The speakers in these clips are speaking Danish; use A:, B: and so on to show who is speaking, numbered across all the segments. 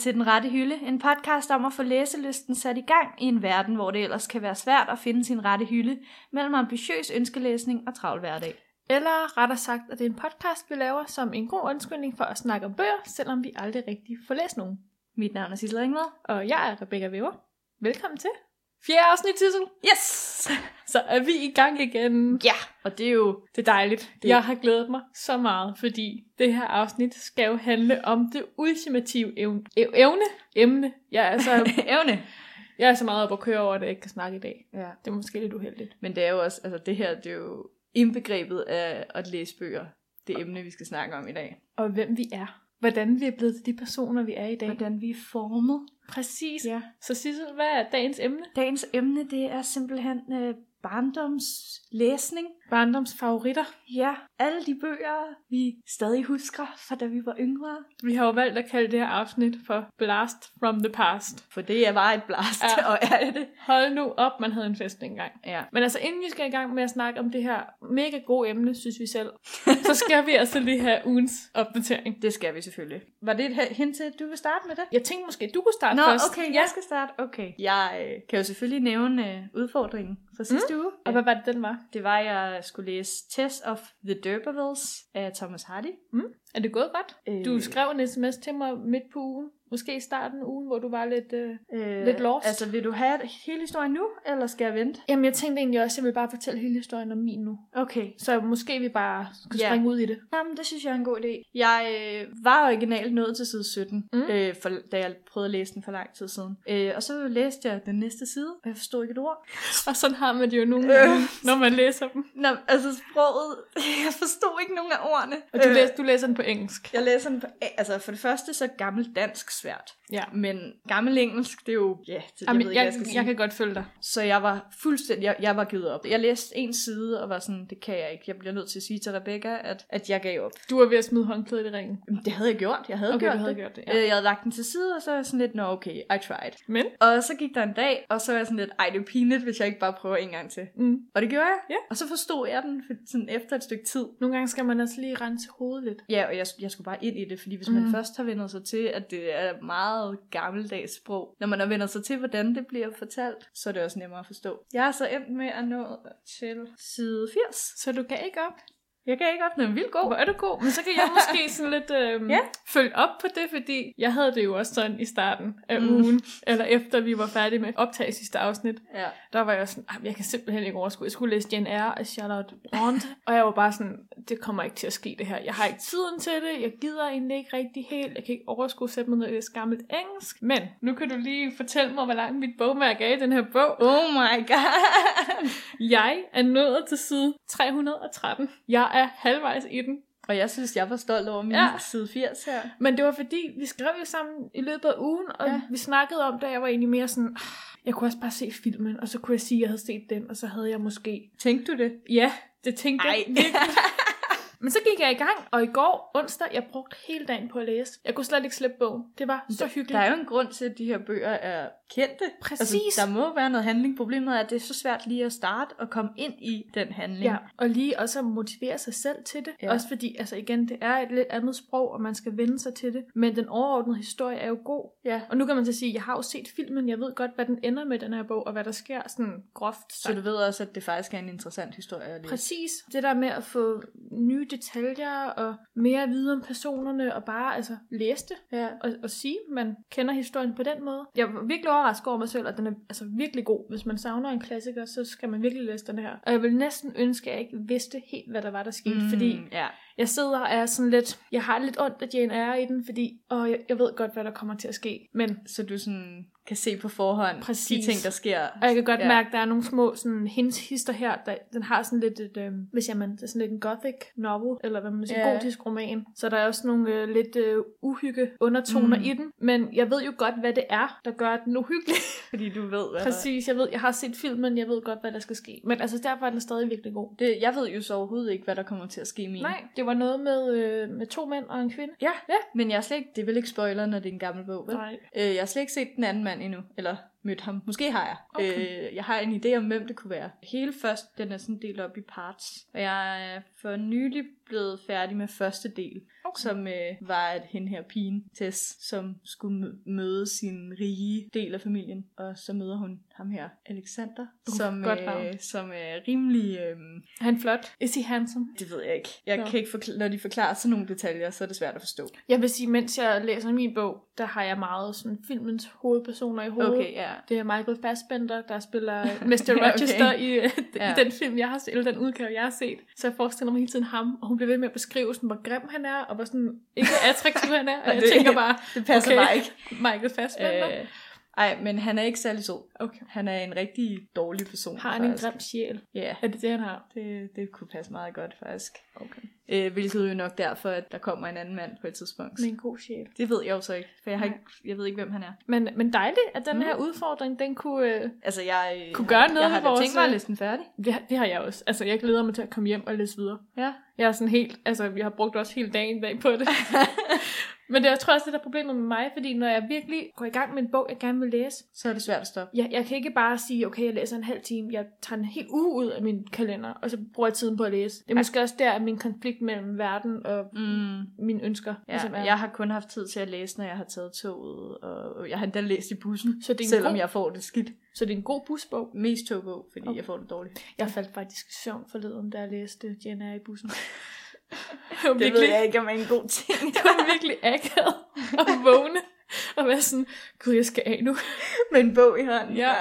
A: til Den Rette Hylde, en podcast om at få læselysten sat i gang i en verden, hvor det ellers kan være svært at finde sin rette hylde mellem ambitiøs ønskelæsning og travl hverdag.
B: Eller rettere sagt, at det er en podcast, vi laver som en god undskyldning for at snakke om bøger, selvom vi aldrig rigtig får læst nogen.
A: Mit navn er Sissel Ringvad.
B: Og jeg er Rebecca Weber. Velkommen til. Fjerde afsnit, Tissel.
A: Yes!
B: Så er vi i gang igen.
A: Ja, og det er jo...
B: Det er dejligt.
A: Det-
B: Det. Jeg har glædet mig så meget, fordi det her afsnit skal jo handle om det ultimative evne. evne? Emne. Jeg er, så,
A: evne.
B: jeg er så meget op at køre over, at jeg ikke kan snakke i dag.
A: Ja.
B: Det er måske lidt uheldigt.
A: Men det er jo også, altså det her, det er jo indbegrebet af at læse bøger. Det emne, vi skal snakke om i dag.
B: Og hvem vi er. Hvordan vi er blevet til de personer, vi er i dag.
A: Hvordan vi er formet.
B: Præcis.
A: Ja.
B: Så Sissel, hvad er dagens emne?
A: Dagens emne, det er simpelthen øh, barndomslæsning.
B: Barndoms favoritter.
A: Ja, alle de bøger, vi stadig husker fra da vi var yngre.
B: Vi har jo valgt at kalde det her afsnit for Blast from the Past.
A: For det er bare et blast,
B: Ja.
A: og er det det?
B: Hold nu op, man havde en fest engang.
A: Ja.
B: Men altså, inden vi skal i gang med at snakke om det her mega gode emne, synes vi selv, så skal vi altså lige have ugens opdatering.
A: Det skal vi selvfølgelig. Var det et he- hint til, at du vil starte med det?
B: Jeg tænkte måske, du kunne starte
A: Nå,
B: først.
A: okay, jeg skal starte. Okay. Jeg øh, kan jo selvfølgelig nævne øh, udfordringen fra sidste mm. uge.
B: Og hvad var det, den var?
A: Det var, at jeg skulle læse Test of the D'Urbervilles af Thomas Hardy.
B: Er det gået godt?
A: Øh,
B: Du skrev en sms til mig midt på ugen. Måske i starten af ugen, hvor du var lidt... Øh...
A: øh,
B: lidt lost.
A: Altså, vil du have hele historien nu, eller skal jeg vente?
B: Jamen, jeg tænkte egentlig også, at jeg ville bare fortælle hele historien om min nu.
A: Okay.
B: Så måske vi bare skal
A: Ja.
B: springe ud i det.
A: Jamen, det synes jeg er en god idé. Jeg øh, var originalt nået til side 17, mm.
B: Mm.
A: øh, for, da jeg prøvede at læse den for lang tid siden. Øh, og så læste jeg den næste side, og jeg forstod ikke et ord.
B: Og sådan har man det jo nogle
A: Øh.
B: gange, når man læser dem.
A: Nå, altså sproget, jeg forstod ikke nogen af ordene.
B: Og du,
A: Øh,
B: læser, du læser den på engelsk.
A: Jeg læser den på, altså for det første så gammel dansk svært,
B: Ja.
A: men gammel engelsk, det er jo, ja, det, jeg
B: Jamen,
A: ved ikke,
B: jeg,
A: hvad jeg skal sige.
B: jeg kan godt følge dig.
A: Så jeg var fuldstændig, jeg, jeg var givet op. Jeg læste en side og var sådan, det kan jeg ikke. Jeg bliver nødt til at sige til Rebecca, at, at jeg gav op.
B: Du er ved at smide håndklædet i ringen.
A: Jamen, Det havde jeg gjort, jeg havde
B: Okay,
A: gjort
B: du havde
A: det. Øh.
B: gjort det,
A: Ja.
B: ja.
A: Jeg havde lagt den til side, og så var jeg sådan lidt, nå okay, I tried.
B: Men?
A: Og så gik der en dag, og så var jeg sådan lidt, ej det er pinligt, hvis jeg ikke bare prøver en gang til.
B: Mm.
A: Og det gjorde jeg.
B: Ja.
A: Og så forstod jeg den for, sådan efter et stykke tid.
B: Nogle gange skal man altså lige rense hovedet lidt.
A: Ja, og jeg, jeg skulle bare ind i det, fordi hvis man
B: Mm.
A: først har vendt sig til, at det er meget gammeldags sprog, når man har vendt sig til, hvordan det bliver fortalt, så er det også nemmere at forstå. Jeg er så endt med at nå til side 80.
B: Så du kan ikke op.
A: Jeg kan ikke op, den er vildt god.
B: Hvor er du god? Men så kan jeg måske sådan lidt øhm,
A: Ja.
B: følge op på det, fordi jeg havde det jo også sådan i starten af
A: Mm.
B: mm. ugen, eller efter vi var færdige med at optage sidste afsnit.
A: Ja.
B: Der var jeg sådan, "Ej, jeg kan simpelthen ikke overskue. Jeg skulle læse Jane Eyre af Charlotte Brand, og jeg var bare sådan, det kommer ikke til at ske det her. Jeg har ikke tiden til det, jeg gider egentlig ikke rigtig helt, jeg kan ikke overskue at sætte mig ned i det gammelt engelsk. Men nu kan du lige fortælle mig, hvor langt mit bogmærke er i den her bog.
A: Oh my god.
B: Jeg er nået til side 313. Jeg er halvvejs i den.
A: og jeg synes, jeg var stolt over min ja.
B: Ja.
A: side 80 her.
B: Men det var fordi, vi skrev jo sammen i løbet af ugen, og
A: Ja.
B: ja. vi snakkede om det, og jeg var egentlig mere sådan, "Ah, jeg kunne også bare se filmen, og så kunne jeg sige, at jeg havde set den, og så havde jeg måske...
A: Tænkte du det?
B: Ja, det tænkte jeg.
A: virkelig.
B: Men så gik jeg i gang, og i går onsdag, jeg brugte hele dagen på at læse. Jeg kunne slet ikke slippe bogen. Det var så hyggeligt.
A: Der er jo en grund til, at de her bøger er kendte.
B: Præcis.
A: Altså, der må være noget handling. Problemet er, at det er så svært lige at starte og komme ind i den handling.
B: Ja, og lige også at motivere sig selv til det.
A: Ja.
B: Ja. Også fordi, altså igen, det er et lidt andet sprog, og man skal vende sig til det. Men den overordnede historie er jo god.
A: ja.
B: Og nu kan man så sige, jeg har jo set filmen, jeg ved godt, hvad den ender med den her bog, og hvad der sker sådan groft
A: Så
B: sagt.
A: du ved også, at det faktisk er en interessant historie at læse.
B: Præcis. Det der med at få nye detaljer og mere at vide om personerne og bare altså læse det
A: Ja.
B: og, og sige, at man kender historien på den måde. Jeg var virkelig overrasket over mig selv, og den er altså virkelig god. Hvis man savner en klassiker, så skal man virkelig læse den her. Og jeg vil næsten ønske, at jeg ikke vidste helt, hvad der var, der skete, mm. fordi
A: ja.
B: jeg sidder og er sådan lidt, jeg har lidt ondt af Jane Eyre i den, fordi og jeg, jeg ved godt, hvad der kommer til at ske, men
A: Så du sådan kan se på forhånd
B: Præcis.
A: de ting, der sker.
B: og jeg kan godt
A: Ja.
B: ja. mærke, at der er nogle små sådan, hints hister her, der, den har sådan lidt et, øh, hvis jeg man, det er sådan lidt en gothic novel, eller hvad man siger,
A: Ja.
B: ja. gotisk roman. Så der er også nogle øh, lidt øh, uhygge undertoner
A: Mm.
B: mm. i den, men jeg ved jo godt, hvad det er, der gør den uhyggelig.
A: Fordi du ved, hvad der-
B: Præcis, jeg ved, jeg har set filmen, jeg ved godt, hvad der skal ske. Men altså, derfor er den stadig virkelig god.
A: Det, jeg ved jo så overhovedet ikke, hvad der kommer til at ske med
B: Nej, det var noget med, øh, med to mænd og en kvinde.
A: Ja, men jeg har slet ikke, det er vel ikke spoiler, når det er en gammel bog, vel?
B: Nej.
A: Øh, jeg har slet ikke set den anden mand endnu, eller mødt ham. Måske har jeg.
B: Okay.
A: Øh, jeg har en idé om, hvem det kunne være. Hele først, den er sådan delt op i parts. Og jeg er for nylig blevet færdig med første del,
B: Okay.
A: som øh, var, at hende her pigen, Tess, som skulle mø- møde sin rige del af familien. Og så møder hun ham her, Alexander,
B: Uh,
A: som,
B: godt navn.
A: øh, som er rimelig... Øh,
B: Er han flot? Is he handsome?
A: det ved jeg ikke. Jeg
B: Nå.
A: kan ikke forkl- når de forklarer sådan nogle detaljer, så er det svært at forstå.
B: Jeg vil sige, mens jeg læser min bog, der har jeg meget sådan filmens hovedpersoner i hovedet.
A: ja.
B: Det er Michael Fassbender, der spiller Mr.
A: Okay.
B: Rochester i, øh,
A: Ja.
B: i den film, jeg har set, eller den udgave, jeg har set. Så jeg forestiller mig hele tiden ham, og hun bliver ved med at beskrive, sådan, hvor grim han er, og hvor sådan, ikke attraktiv han er. Og
A: Og
B: jeg
A: det-
B: tænker bare,
A: Det passer okay.
B: Okay.
A: bare ikke.
B: Michael Fassbender. Øh,
A: Øh, ej, men han er ikke særlig sød.
B: okay.
A: Han er en rigtig dårlig person,
B: Har han en
A: faktisk.
B: grim sjæl?
A: Ja,
B: Er det det, han har?
A: det, det kunne passe meget godt, faktisk.
B: Okay.
A: Øh, hvilket jo nok derfor, at der kommer en anden mand på et tidspunkt.
B: Med en god sjæl.
A: Det ved jeg jo så ikke, for jeg, har
B: Nej.
A: ikke, jeg ved ikke, hvem han er.
B: Men, men dejligt, at den
A: Mm.
B: her udfordring, den kunne... Øh,
A: Altså, jeg
B: Kunne gøre noget
A: jeg har
B: ved
A: da
B: vores,
A: tænkt mig at
B: øh,
A: læse den færdig.
B: det, har- det har jeg også. Altså, jeg glæder mig til at komme hjem og læse videre.
A: Ja.
B: Jeg er sådan helt, altså jeg har brugt også hele dagen bag på det. Men det er, jeg tror også, det der er problemet med mig, fordi når jeg virkelig går i gang med en bog, jeg gerne vil læse,
A: Så er det svært at stoppe.
B: jeg, jeg kan ikke bare sige, okay, jeg læser en halv time, jeg tager en hel uge ud af min kalender, og så bruger jeg tiden på at læse. Det er måske også der, at min konflikt mellem verden og
A: Mm.
B: mine ønsker
A: Ja,
B: ligesom er.
A: jeg har kun haft tid til at læse, når jeg har taget toget, og jeg har endda læst i bussen,
B: Så det er en
A: selvom
B: god-
A: jeg får det skidt.
B: Så det er en god busbog.
A: Mest togbog, fordi
B: Okay.
A: okay. jeg får det dårligt.
B: Jeg faldt faktisk i søvn forleden, da jeg læste Jenna i bussen.
A: Det ved jeg ikke, om er en god ting.
B: Det var virkelig akavet at vågne og være sådan, gud, jeg skal af nu.
A: Med en bog i hånden.
B: Ja.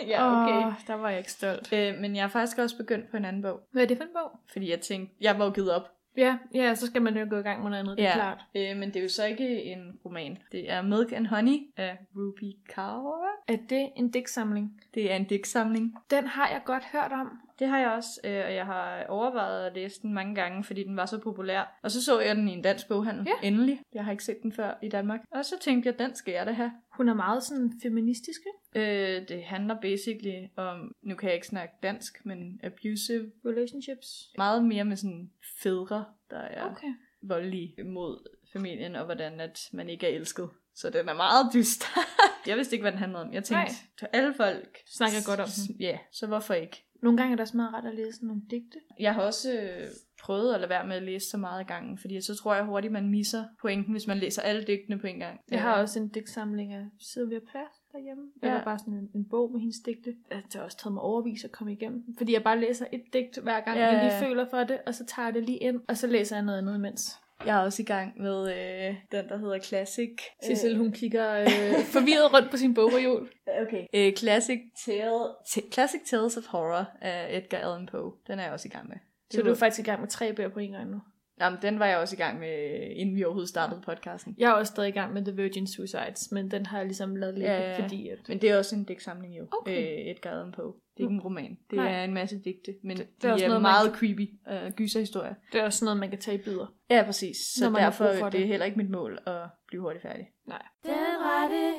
A: ja, okay.
B: Åh, der var jeg ikke stolt.
A: Øh, men jeg har faktisk også begyndt på en anden bog,
B: Hvad er det for en bog?
A: fordi jeg tænkte, jeg var jo givet op.
B: Ja, ja, så skal man jo gå i gang med noget andet, det er klart.
A: Øh, men det er jo så ikke en roman. Det er Milk and Honey af Ruby Kaur.
B: Er det en digtsamling?
A: Det er en digtsamling.
B: Den har jeg godt hørt om.
A: Det har jeg også, øh, og jeg har overvejet at læse den mange gange, fordi den var så populær. Og så så jeg den i en dansk boghandel,
B: Ja.
A: endelig. Jeg har ikke set den før i Danmark. Og så tænkte jeg, den skal jeg da have.
B: Hun er meget sådan feministisk, ikke?
A: Øh, det handler basically om, nu kan jeg ikke snakke dansk, men abusive.
B: Relationships.
A: Meget mere med sådan fædre, der er
B: Okay.
A: voldelig mod familien, og hvordan at man ikke er elsket. Så den er meget dyster. jeg vidste ikke, hvad den handlede om. Jeg tænkte,
B: Nej.
A: til alle folk
B: Snakker godt om
A: den. Ja, så hvorfor ikke?
B: Nogle gange er det også meget rart at læse sådan nogle digte.
A: Jeg har også øh, prøvet at lade være med at læse så meget ad gangen, fordi så tror jeg hurtigt, man misser pointen, hvis man læser alle digtene på en gang.
B: Jeg har også en digtsamling af Sylvia Plath derhjemme. Ja.
A: Ja.
B: Eller bare sådan en, en bog med hendes digte. Altså, Det har også taget mig overvis at komme igennem. den, Fordi jeg bare læser et digt hver gang,
A: Ja,
B: ja. jeg
A: ja,
B: lige
A: ja.
B: føler for det. Og så tager jeg det lige ind, og så læser jeg noget andet imens.
A: jeg er også i gang med øh, den, der hedder Classic. øh,
B: Sissel, hun kigger øh, forvirret rundt på sin bogreol.
A: Okay. Øh, classic, tale, t- classic Tales of Horror af Edgar Allan Poe. Den er jeg også i gang med. Det
B: Så du
A: var-
B: er faktisk i gang med tre bøger på en gang nu.
A: Jamen, den var jeg også i gang med, øh, inden vi overhovedet startede podcasten.
B: Jeg er også stadig i gang med The Virgin Suicides, men den har jeg ligesom lavet lidt,
A: Ja, ja, ja.
B: fordi at...
A: Men det er også en digtsamling jo,
B: Okay. Mm.
A: okay. øh, Edgar Allan Poe. Det er ikke en roman. Det
B: Nej.
A: er en masse digte, men det,
B: det er
A: det
B: også
A: de er
B: noget, man
A: meget creepy øh, gyserhistorier.
B: Det er også sådan noget, man kan tage i bidder.
A: Ja, præcis. Så
B: Når man har
A: derfor
B: brug for
A: det er
B: det.
A: heller ikke mit mål at blive hurtigt færdig.
B: Nej.
C: Den rette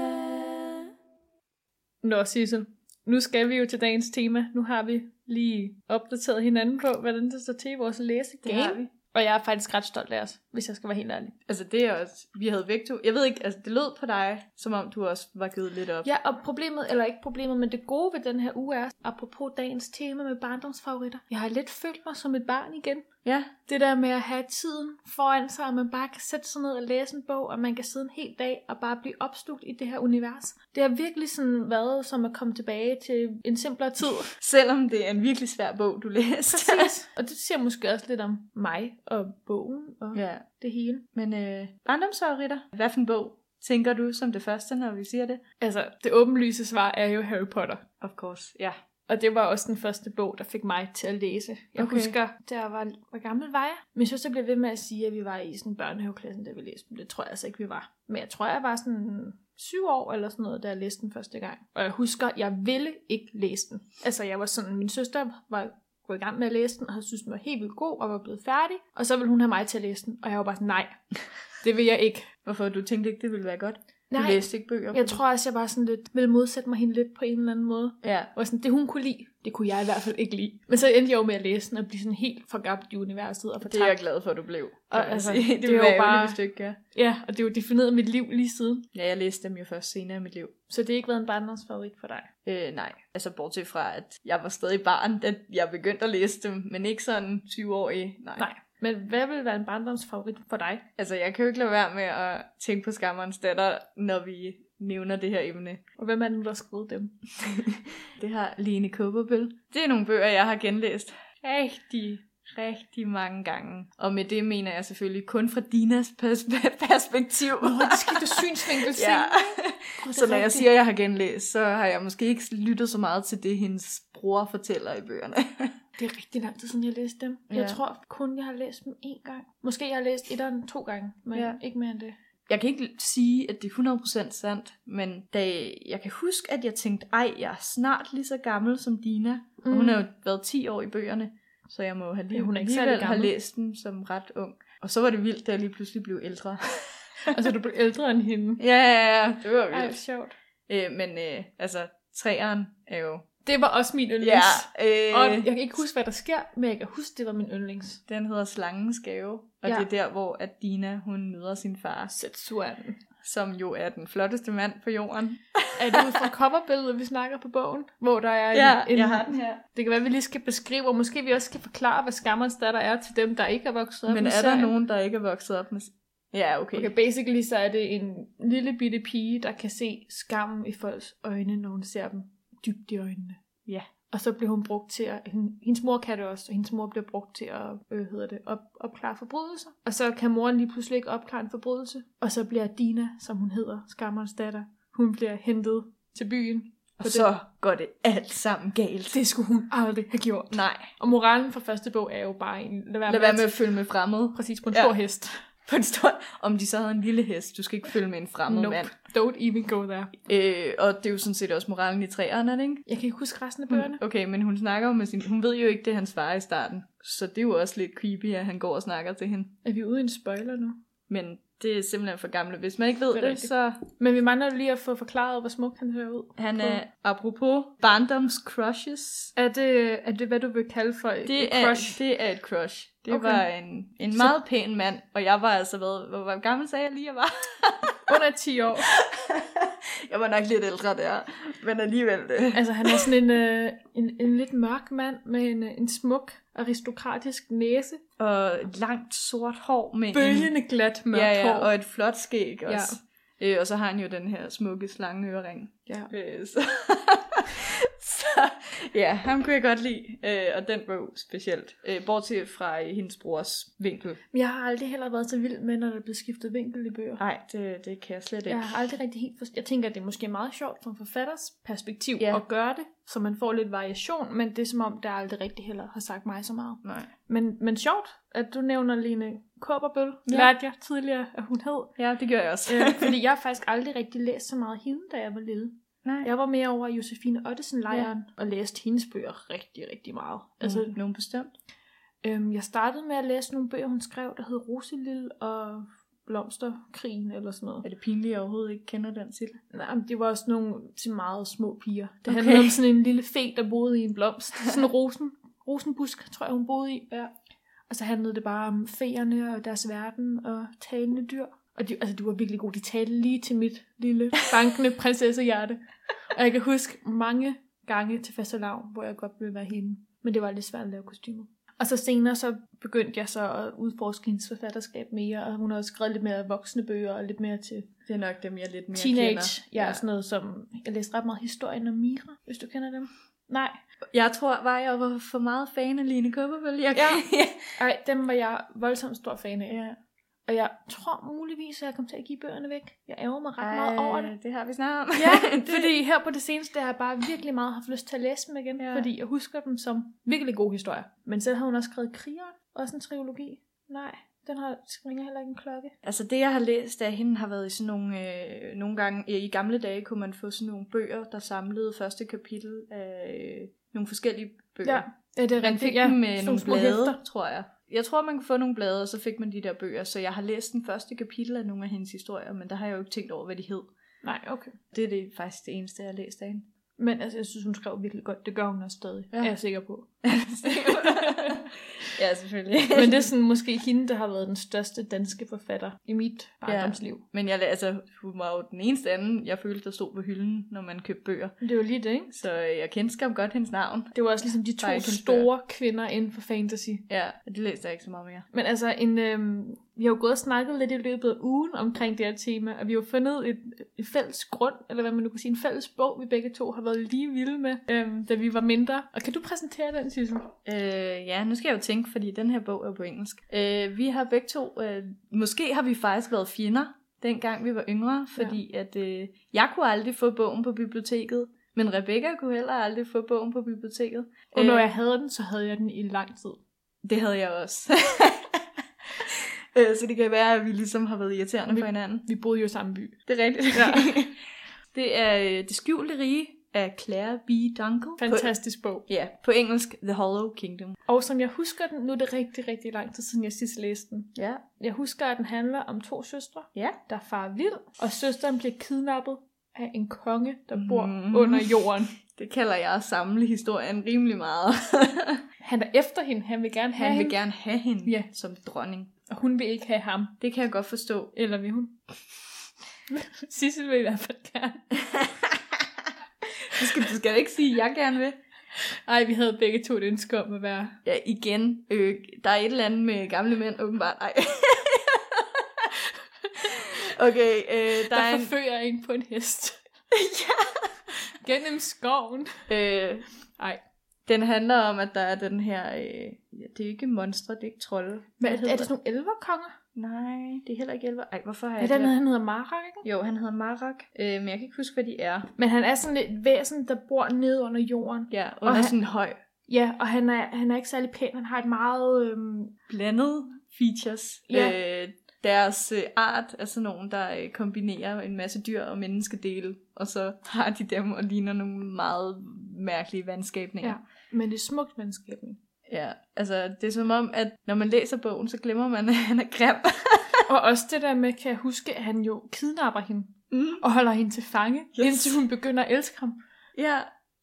C: hylde.
B: Nå, Sissel. Nu skal vi jo til dagens tema. Nu har vi lige opdateret hinanden på, hvordan det står til i vores læsegame.
A: vi.
B: Og jeg er faktisk ret stolt af os, hvis jeg skal være helt ærlig.
A: Altså det er også, vi havde væk to. Jeg ved ikke, altså det lød på dig, som om du også var givet lidt op.
B: Ja, og problemet, eller ikke problemet, men det gode ved den her uge er, apropos dagens tema med barndomsfavoritter, jeg har lidt følt mig som et barn igen.
A: ja.
B: Det der med at have tiden foran sig, og man bare kan sætte sig ned og læse en bog, og man kan sidde en hel dag og bare blive opslugt i det her univers. Det har virkelig sådan været som at komme tilbage til en simplere tid.
A: Selvom det er en virkelig svær bog, du læste.
B: Præcis. og det siger måske også lidt om mig og bogen og ja.
A: ja.
B: det hele.
A: Men øh, barndomsfavoritter, hvad for en bog tænker du som det første, når vi siger det?
B: Altså, det åbenlyse svar er jo Harry Potter.
A: Of course, ja.
B: Og det var også den første bog, der fik mig til at læse. Jeg okay.
A: Okay.
B: husker, da jeg var, hvor gammel var jeg? Min søster blev ved med at sige, at vi var i sådan en børnehaveklassen, da vi læste dem. Det tror jeg altså ikke, vi var. Men jeg tror, jeg var sådan syv år eller sådan noget, da jeg læste den første gang. Og jeg husker, jeg ville ikke læse den. Altså, jeg var sådan, min søster var gået i gang med at læse den, og havde syntes, den var helt vildt god, og var blevet færdig. Og så ville hun have mig til at læse den, og jeg var bare sådan, nej, det vil jeg ikke.
A: Hvorfor du tænkte ikke, det ville være godt? Du læste ikke bøger?
B: Jeg tror også, jeg var sådan lidt, ville modsætte mig hende lidt på en eller anden måde.
A: Ja.
B: Og sådan, det hun kunne lide, det kunne jeg i hvert fald ikke lide. Men så endte jeg jo med at læse den og blive sådan helt forgabt i universet og
A: Det er jeg
B: fortabt.
A: glad for, at du blev.
B: Og
A: kan man
B: altså,
A: sige.
B: det
A: det, det
B: er jo
A: var bare...
B: bare-
A: hvis du ikke gør.
B: Ja, og det er jo defineret mit liv lige siden.
A: Ja, jeg læste dem jo først senere i mit liv.
B: Så det har ikke været en barndomsfavorit for dig.
A: Øh, nej, altså bortset fra, at jeg var stadig barn, da jeg begyndte at læse dem, men ikke sådan 20-årig. Nej.
B: Nej. Men hvad vil være en barndomsfavorit for dig?
A: Altså, jeg kan jo ikke lade være med at tænke på skammerens datter, når vi nævner det her emne.
B: Og hvem er det nu, der har skrevet dem?
A: Det har Lene Kåberbøl. Det er nogle bøger, jeg har genlæst rigtig, rigtig mange gange. Og med det mener jeg selvfølgelig kun fra Dinas pers- perspektiv.
B: Åh, det skifter synsvinkel
A: Ja. Så når jeg
B: rigtigt.
A: siger, at jeg har genlæst, så har jeg måske ikke lyttet så meget til det, hendes bror fortæller i bøgerne.
B: Det er rigtig lang tid siden, jeg læste dem.
A: Ja.
B: Jeg tror kun, jeg har læst dem én gang. Måske jeg har læst etteren to gange, men
A: Ja.
B: ja. ikke mere end det.
A: Jeg kan ikke sige, at det er 100% sandt, men da jeg kan huske, at jeg tænkte, ej, jeg er snart lige så gammel som Dina. Mm. Og hun har jo været 10 år i bøgerne, så jeg må have lige,
B: Ja, hun er ikke særlig
A: alligevel have
B: gammel.
A: læst den som ret ung. Og så var det vildt, da jeg lige pludselig blev ældre.
B: altså, du blev ældre end hende.
A: ja, ja, ja, det var
B: Ej,
A: vildt.
B: sjovt.
A: Æ, men øh, altså, træeren er jo...
B: Det var også min yndlings.
A: Ja,
B: Ja. Og
A: øh,
B: jeg kan ikke huske, hvad der sker, men jeg kan huske, det var min yndlings.
A: den hedder Slangens Gave, og
B: Ja.
A: det er der, hvor at Dina, hun møder sin far,
B: Setsuan.
A: som jo er den flotteste mand på jorden.
B: Er det ud fra coverbilledet, vi snakker på bogen? Hvor der er en, en,
A: den her.
B: Det kan være, vi lige skal beskrive, og måske vi også skal forklare, hvad skammerens datter er til dem, der ikke er vokset op
A: Men
B: med
A: er der
B: serien.
A: nogen, der ikke er vokset op med... Ja, okay.
B: Okay, basically så er det en lille bitte pige, der kan se skammen i folks øjne, når hun ser dem dybt i øjnene.
A: Ja.
B: Og så bliver hun brugt til at... hende- Hendes mor kan det også, og hendes mor bliver brugt til at øh, hedder det, op, opklare forbrydelser. Og så kan moren lige pludselig ikke opklare en forbrydelse. Og så bliver Dina, som hun hedder, skammerens datter, hun bliver hentet til byen.
A: Og
B: For
A: så går det alt sammen galt.
B: Det skulle hun aldrig have gjort.
A: Nej,
B: Og moralen fra første bog er jo bare en... Lad være,
A: lad være med at følge med fremmede.
B: Præcis, på en
A: Ja.
B: ja. stor hest.
A: På en stor... Om de så havde en lille hest, du skal ikke følge med en fremmed
B: Nope.
A: mand.
B: Don't even go there.
A: Øh, og det er jo sådan set også moralen i træerne, er det ikke? Mm,
B: Jeg kan ikke huske resten af bøgerne.
A: Okay, men hun snakker jo med sin... Hun ved jo ikke, det er hans far i starten. Så det er jo også lidt creepy, at han går og snakker til hende.
B: Mm. Er vi ude i en spoiler nu?
A: Men det er simpelthen for gamle. Hvis man ikke ved
B: Det er
A: det, det
B: rigtigt.
A: så
B: Men vi mangler lige at få forklaret, hvor smuk han hører ud.
A: han
B: På-
A: er, apropos, barndoms crushes.
B: Er det, er det hvad du vil kalde for et
A: Det
B: et
A: er,
B: crush?
A: det er et crush. Det okay.
B: Okay.
A: var en, en
B: Så-
A: meget pæn mand, og jeg var altså, hvad, hvor, hvor gammel sagde jeg lige, jeg var?
B: Under 10 år.
A: jeg var nok lidt ældre der, men alligevel øh. det.
B: Altså, han er sådan en, øh, en, en lidt mørk mand med en, øh, en smuk, aristokratisk næse.
A: Og langt sort hår med en-
B: Bølgende glat mørkt
A: ja, ja,
B: hår.
A: og et flot skæg også. Ja. Øh, og så har han jo den her smukke slangeøring.
B: ja.
A: Øh, så, så ja, ham kunne jeg godt lide, øh, og den bog specielt. Øh, bortset fra øh, hendes brors vinkel.
B: Men jeg har aldrig heller været så vild med, når der bliver skiftet vinkel i bøger.
A: Nej, det, det kan jeg slet ikke.
B: Jeg har aldrig rigtig helt forstået. Jeg tænker, at det er måske meget sjovt fra en forfatters perspektiv
A: Ja.
B: ja. at gøre det, så man får lidt variation, men det er som om, der aldrig rigtig heller har sagt mig så meget.
A: Nej.
B: Men, men sjovt, at du nævner Lene Kåberbøl.
A: Ja.
B: Ja. Lærte jeg tidligere, at hun hed.
A: Ja, det gør jeg også.
B: Øh, fordi jeg har faktisk aldrig rigtig læst så meget hende, da jeg var lille.
A: Nej.
B: Jeg var mere over i Josefine Ottesen-lejren ja. og læste hendes bøger rigtig, rigtig meget.
A: Altså,
B: Altså,
A: nogen bestemt?
B: øhm, jeg startede med at læse nogle bøger, hun skrev, der hed Roselille og Blomsterkrigen eller sådan noget.
A: Er det pinligt, at jeg overhovedet ikke kender den titel?
B: Nej, men det var også nogle til meget små piger. Det
A: Okay.
B: okay. handlede om sådan en lille fe, der boede i en blomst. Sådan en rosen, rosenbusk, tror jeg, hun boede i.
A: Ja.
B: Og så handlede det bare om feerne og deres verden og talende dyr. Og de, altså, de var virkelig gode. De talte lige til mit lille, bankende prinsessehjerte. Og jeg kan huske mange gange til fastelavn, hvor jeg godt ville være hende. Men det var lidt svært at lave kostymer. Og så senere så begyndte jeg så at udforske hendes forfatterskab mere, og hun har også skrevet lidt mere voksne bøger og lidt mere til
A: Det er nok dem, jeg lidt mere
B: Teenage,
A: kender.
B: ja, ja, sådan noget som... Jeg læste ret meget historien om Mira, hvis du kender dem. Nej,
A: Jeg tror bare, jeg var for meget fan af Line Kupperbøl. Jeg
B: Ja.
A: ja.
B: ej, dem var jeg voldsomt stor fan af. Ja. Og jeg tror muligvis, at jeg kom til at give bøgerne væk. Jeg ærger mig ret meget over det.
A: det har vi snart om.
B: Ja, fordi her på det seneste har jeg bare virkelig meget haft lyst til at læse dem igen,
A: Ja.
B: ja. fordi jeg husker dem som virkelig gode historier. Men selv har hun også skrevet Krigeren, også en trilogi. Nej, den har springer heller ikke en klokke.
A: Altså det, jeg har læst af hende, har været i sådan nogle... Øh, nogle gange, i gamle dage kunne man få sådan nogle bøger, der samlede første kapitel af øh, nogle forskellige bøger.
B: Ja, ja det er
A: Man fik
B: rigtigt.
A: ja,
B: Ja,
A: dem med
B: sådan
A: nogle
B: små
A: blade,
B: hæfter.
A: hæfter. tror jeg. Jeg tror, man kunne få nogle blade, og så fik man de der bøger. Så jeg har læst den første kapitel af nogle af hendes historier, men der har jeg jo ikke tænkt over, hvad de hed.
B: Nej, okay.
A: Det er det faktisk det eneste, jeg har læst af hende.
B: Men altså, jeg synes, hun skrev virkelig godt. Det gør hun også stadig.
A: Ja.
B: Ja. Er jeg sikker på.
A: ja, selvfølgelig.
B: Men det er sådan måske hende, der har været den største danske forfatter i mit barndomsliv.
A: Men jeg, la- altså, hun var jo den eneste anden, jeg følte, der stod på hylden, når man købte bøger.
B: Det er jo lige det, ikke?
A: Så øh, jeg kendte skam godt hendes navn.
B: Det var også ligesom de to
A: Bare ikke hende
B: store kvinder inden for fantasy.
A: Ja, og det læste jeg ikke så meget mere.
B: Men altså, en, øhm, vi har jo gået og snakket lidt i løbet af ugen omkring det her tema, og vi har jo fundet et, et fælles grund, eller hvad man nu kan sige, en fælles bog, vi begge to har været lige vilde med, øhm, da vi var mindre. Og kan du præsentere den, Sissel?
A: Øh, ja, nu skal jeg jo tænke, fordi den her bog er på engelsk. Øh, vi har begge to, øh, måske har vi faktisk været fjender, dengang vi var yngre, fordi ja. at øh, jeg kunne aldrig få bogen på biblioteket, men Rebecca kunne heller aldrig få bogen på biblioteket. Øh,
B: Og når jeg havde den, så havde jeg den i lang tid.
A: Det havde jeg også. øh, så det kan være, at vi ligesom har været irriterende
B: Vi-
A: for hinanden.
B: Vi boede jo i samme by.
A: Det er rigtigt. Ja. det er øh, Det skjulte rige af Claire B. Dunkel.
B: Fantastisk bog.
A: På, ja, på engelsk The Hollow Kingdom.
B: Og som jeg husker den, nu er det rigtig, rigtig lang tid siden, jeg sidst læste den.
A: Ja.
B: Jeg husker, at den handler om to søstre,
A: Ja.
B: der far vild, og søsteren bliver kidnappet af en konge, der bor
A: Mm.
B: mm. under jorden.
A: Det kalder jeg at samle historien rimelig meget.
B: Han er efter hende, han vil gerne have
A: Han vil
B: hende,
A: gerne have hende
B: Ja.
A: som dronning.
B: og hun vil ikke have ham.
A: Det kan jeg godt forstå.
B: Eller vil hun? Sissel vil i hvert fald gerne.
A: Du skal, du skal ikke sige, at jeg gerne vil.
B: Ej, vi havde begge to et ønske om at være...
A: Ja, igen. Øh, der er et eller andet med gamle mænd, åbenbart. Ej. okay, øh, der,
B: Der,
A: er
B: der
A: en...
B: forfører en... på en hest. ja! Gennem skoven.
A: Øh,
B: Ej.
A: den handler om, at der er den her... Øh, ja, det er ikke monstre, det er ikke trolde.
B: Hvad er, er
A: hedder-
B: det sådan nogle elverkonger?
A: Nej, det er heller ikke elver. Ej, hvorfor har
B: Er
A: jeg
B: det
A: glemt-
B: den, han hedder Marak, ikke?
A: Jo, han hedder Marak, øh, men jeg kan ikke huske, hvad de er.
B: Men han er sådan et væsen, der bor nede under jorden.
A: Ja, under
B: han-
A: sådan en høj.
B: Ja, og han er, han er ikke særlig pæn. Han har et meget... Øhm,
A: Blandet features.
B: Ja.
A: Øh, deres øh, art er sådan nogen, der øh, kombinerer en masse dyr og menneskedele, og så har de dem og ligner nogle meget mærkelige vandskabninger.
B: Ja. men det er smukt venskab.
A: ja. Altså, det er som om, at når man læser bogen, så glemmer man, at han er grim.
B: Og også det der med, kan jeg huske, at han jo kidnapper hende
A: Mm.
B: og holder hende til fange,
A: Yes.
B: yes. indtil hun begynder at elske ham.
A: Ja,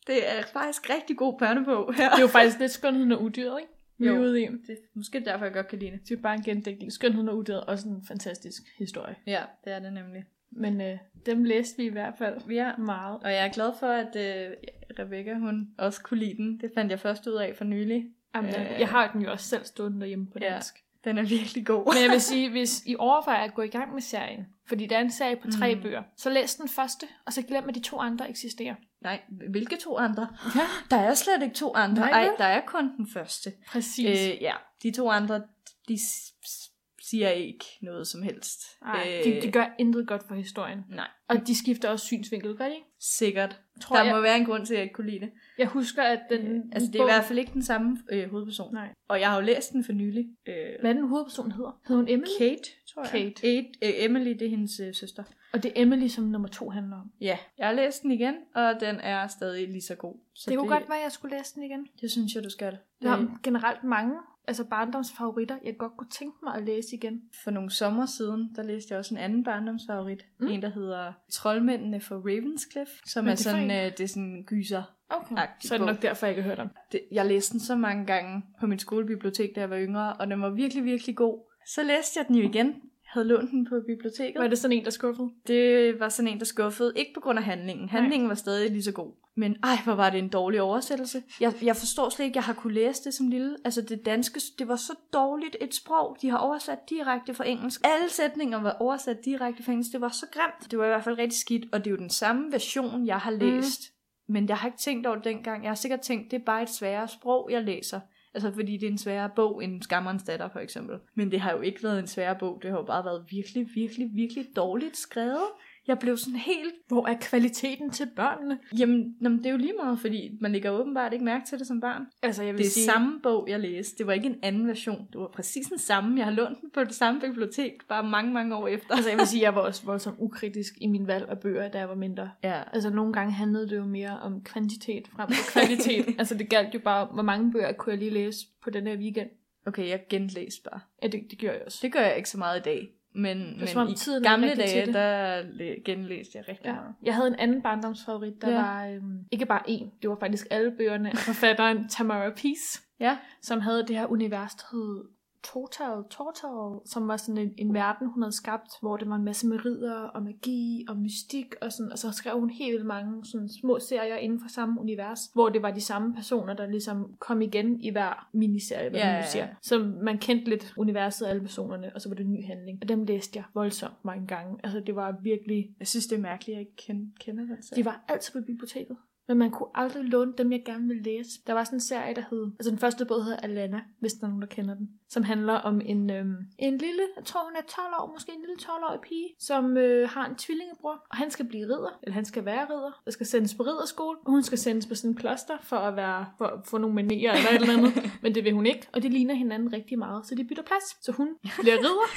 A: det er faktisk rigtig god børnebog her.
B: Det er jo faktisk lidt skønheden og udyret, ikke? Vi er
A: Jo.
B: ude i. Det
A: Det er måske derfor, jeg godt kan lide det.
B: er jo bare en gendækning. Skønheden og udyret er også en fantastisk historie.
A: Ja, det er det nemlig.
B: Men øh, dem læste vi i hvert fald
A: Ja,
B: meget.
A: og jeg er glad for, at øh, Rebecca hun også kunne lide den. Det fandt jeg først ud af for nylig.
B: Jamen,
A: Øh.
B: øh. Jeg har den jo også selv stående derhjemme på
A: Ja.
B: dansk.
A: Den er virkelig god.
B: Men jeg vil sige, hvis I overvejer at gå i gang med serien, fordi der er en serie på tre
A: Mm.
B: mm. bøger, så læs den første, og så glem, at de to andre eksisterer.
A: Nej, hvilke to andre?
B: Ja,
A: Der er slet ikke to andre.
B: Nej,
A: Nej, Ej,
B: vel?
A: der er kun den første.
B: præcis. Øh,
A: Øh, ja, de to andre, de s- s- siger ikke noget som helst. Øh,
B: Ej, de, de gør intet godt for historien.
A: Nej,
B: Og de skifter også synsvinkel, gør de ikke?
A: sikkert.
B: Tror
A: Tror der
B: jeg-
A: må være en grund til, at jeg ikke kunne lide det.
B: Jeg husker, at den...
A: Øh, altså, det er i hvert fald ikke den samme øh, hovedperson.
B: Nej.
A: Og jeg har jo læst den for nylig. Øh,
B: Hvad er den hovedperson hedder? Hedder hun Emily?
A: Kate, tror jeg.
B: Kate.
A: Kate. Øh, Emily, det er hendes øh, søster.
B: Og det er Emily, som nummer to handler om.
A: Ja, jeg har læst den igen, og den er stadig lige så god. Så
B: det kunne godt være, at jeg skulle læse den igen.
A: Det synes jeg, du skal.
B: Der er
A: Øh,
B: generelt mange altså barndomsfavoritter, jeg godt kunne tænke mig at læse igen.
A: For nogle sommer siden, der læste jeg også en anden barndomsfavorit. Mm.
B: Mm.
A: En, der hedder Troldmændene for Ravenscliff, som
B: Hvad
A: er
B: er det for
A: sådan,
B: en?
A: øh, det er sådan en gyser.
B: Okay.
A: Agtig
B: Så er det
A: bog.
B: nok derfor, jeg ikke har hørt om.
A: Det, jeg læste den så mange gange på min skolebibliotek, da jeg var yngre, og den var virkelig, virkelig god. Så læste jeg den jo igen. Jeg havde lånt den på biblioteket.
B: Var det sådan en, der skuffede?
A: det var sådan en, der skuffede. Ikke på grund af handlingen. Handlingen var stadig lige så god. Men ej, hvor var det en dårlig oversættelse. Jeg, jeg forstår slet ikke, jeg har kunne læse det som lille. Altså det danske, det var så dårligt et sprog. De har oversat direkte fra engelsk. Alle sætninger var oversat direkte fra engelsk. Det var så grimt. Det var i hvert fald rigtig skidt. Og det er jo den samme version, jeg har læst. Mm. Men jeg har ikke tænkt over det dengang. Jeg har sikkert tænkt, det er bare et sværere sprog, jeg læser. Altså fordi det er en sværere bog end Skammerens datter for eksempel. Men det har jo ikke været en svær bog. Det har jo bare været virkelig, virkelig, virkelig dårligt skrevet. Jeg blev sådan helt...
B: Hvor er kvaliteten til børnene?
A: Jamen, jamen det er jo lige meget, fordi man lægger åbenbart ikke mærke til det som barn.
B: Altså, jeg
A: Det
B: vil
A: er
B: sige...
A: samme bog, jeg læste. Det var ikke en anden version. Det var præcis den samme. Jeg har lånt den på det samme bibliotek, bare mange, mange år efter.
B: Altså, jeg vil sige, jeg var også voldsomt ukritisk i min valg af bøger, da jeg var mindre.
A: Ja,
B: Altså, nogle gange handlede det jo mere om kvantitet frem for kvalitet. altså, det galt jo bare, hvor mange bøger kunne jeg lige læse på den her weekend.
A: okay, jeg genlæste bare.
B: Ja, det, det gjorde jeg også.
A: Det gør jeg ikke så meget i dag. Men,
B: som om
A: men i
B: tiden er
A: gamle
B: rigtig til
A: dage,
B: det.
A: der læ- genlæste jeg rigtig
B: Ja.
A: meget.
B: Jeg havde en anden barndomsfavorit, der
A: Ja.
B: ja. var øhm, ikke bare en, det var faktisk alle bøgerne af forfatteren Tamara Peace,
A: Ja.
B: som havde det her univers, der hed Total Total, som var sådan en, en verden, hun havde skabt, hvor det var en masse med ridder og magi og mystik, og, sådan, og så skrev hun helt vildt mange sådan små serier inden for samme univers, hvor det var de samme personer, der ligesom kom igen i hver miniserie, hvad
A: Ja,
B: ja, man
A: ja,
B: nu
A: ja.
B: siger. Så man kendte lidt universet af alle personerne, og så var det en ny handling. Og dem læste jeg voldsomt mange gange. Altså det var virkelig
A: Jeg synes, det er mærkeligt, at jeg ikke ken- kender den serie.
B: de var altid på biblioteket. Men man kunne aldrig låne dem, jeg gerne ville læse. Der var sådan en serie, der hed... Altså den første bog hedder Alana, hvis der er nogen, der kender den. Som handler om en, øhm, en lille... Jeg tror, hun er 12 år. Måske en lille 12-årig pige, som øh, har en tvillingebror. Og han skal blive ridder. Eller han skal være ridder. Der skal sendes på ridderskole. Og hun skal sendes på sådan en kloster for at være... For at få nogle manerer eller et eller andet. Men det vil hun ikke. Og det ligner hinanden rigtig meget. Så de bytter plads. Så hun bliver ridder.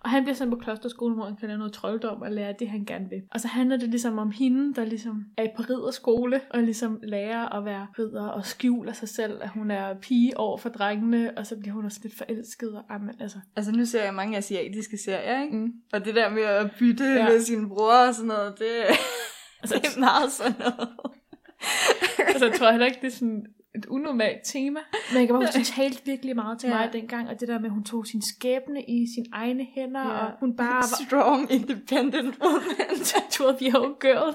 B: Og han bliver sendt på klosterskolen, hvor han kan lære noget trolddom og lære det, han gerne vil. Og så handler det ligesom om hende, der ligesom er på ridderskole og ligesom lærer at være ridder og skjuler sig selv, at hun er pige over for drengene, og så bliver hun også lidt forelsket. Og, amen, altså.
A: Altså nu ser jeg mange asiatiske serier, ikke?
B: Mm.
A: Og det der med at bytte ja.
B: Ja.
A: med sin bror og sådan noget, det,
B: Altså,
A: det er meget sådan noget.
B: altså, jeg tror heller ikke, det er sådan et unormalt tema. Men jeg kan bare huske, hun talte virkelig meget til
A: Ja.
B: ja. mig dengang, og det der med, at hun tog sin skæbne i sine egne hænder,
A: Ja.
B: ja. og hun bare var
A: Strong, independent woman.
B: Tatured Yo Girl.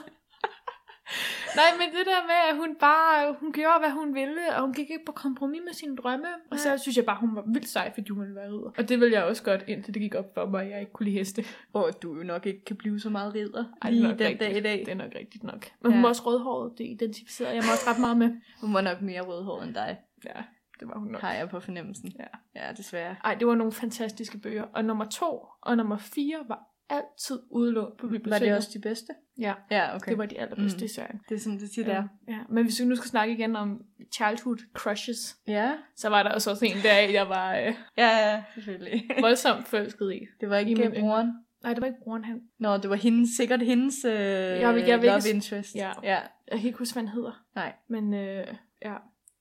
B: Nej, men det der med, at hun bare hun gjorde, hvad hun ville, og hun gik ikke på kompromis med sine drømme. Og så synes jeg bare, hun var vildt sej, fordi hun ville være ridder. Og det ville jeg også godt, indtil det gik op for mig, at jeg ikke kunne lide heste.
A: Hvor du jo nok ikke kan blive så meget ridder
B: Ej, det er
A: lige
B: nok
A: den
B: rigtigt.
A: dag i dag.
B: Det er nok rigtigt nok. Men ja.
A: Ja.
B: hun var også rødhåret, det identificerede jeg mig også ret meget med.
A: Hun var nok mere rødhåret end dig,
B: Ja, det var hun nok.
A: har jeg på fornemmelsen.
B: Ja.
A: Ja, desværre.
B: Ej, det var nogle fantastiske bøger. Og nummer to og nummer fire var altid udlånt på biblioteket.
A: Var det også de bedste?
B: Ja,
A: Ja,
B: okay.
A: okay.
B: det var de allerbedste
A: Mm.
B: i serien.
A: det er sådan, det tit er.
B: Ja. Men hvis vi nu skal snakke igen om childhood crushes,
A: Ja,
B: så var der også også en der, jeg var øh,
A: ja, ja selvfølgelig.
B: voldsomt forelsket i.
A: Det var ikke
B: I min
A: Jamen, broren.
B: Nej, det var ikke broren, han.
A: Nå, det var hendes, sikkert hendes øh, jeg
B: vil- jeg vil
A: love
B: ikke-
A: interest.
B: Ja.
A: ja.
B: Jeg kan ikke huske, hvad han hedder.
A: Nej.
B: Men øh, ja,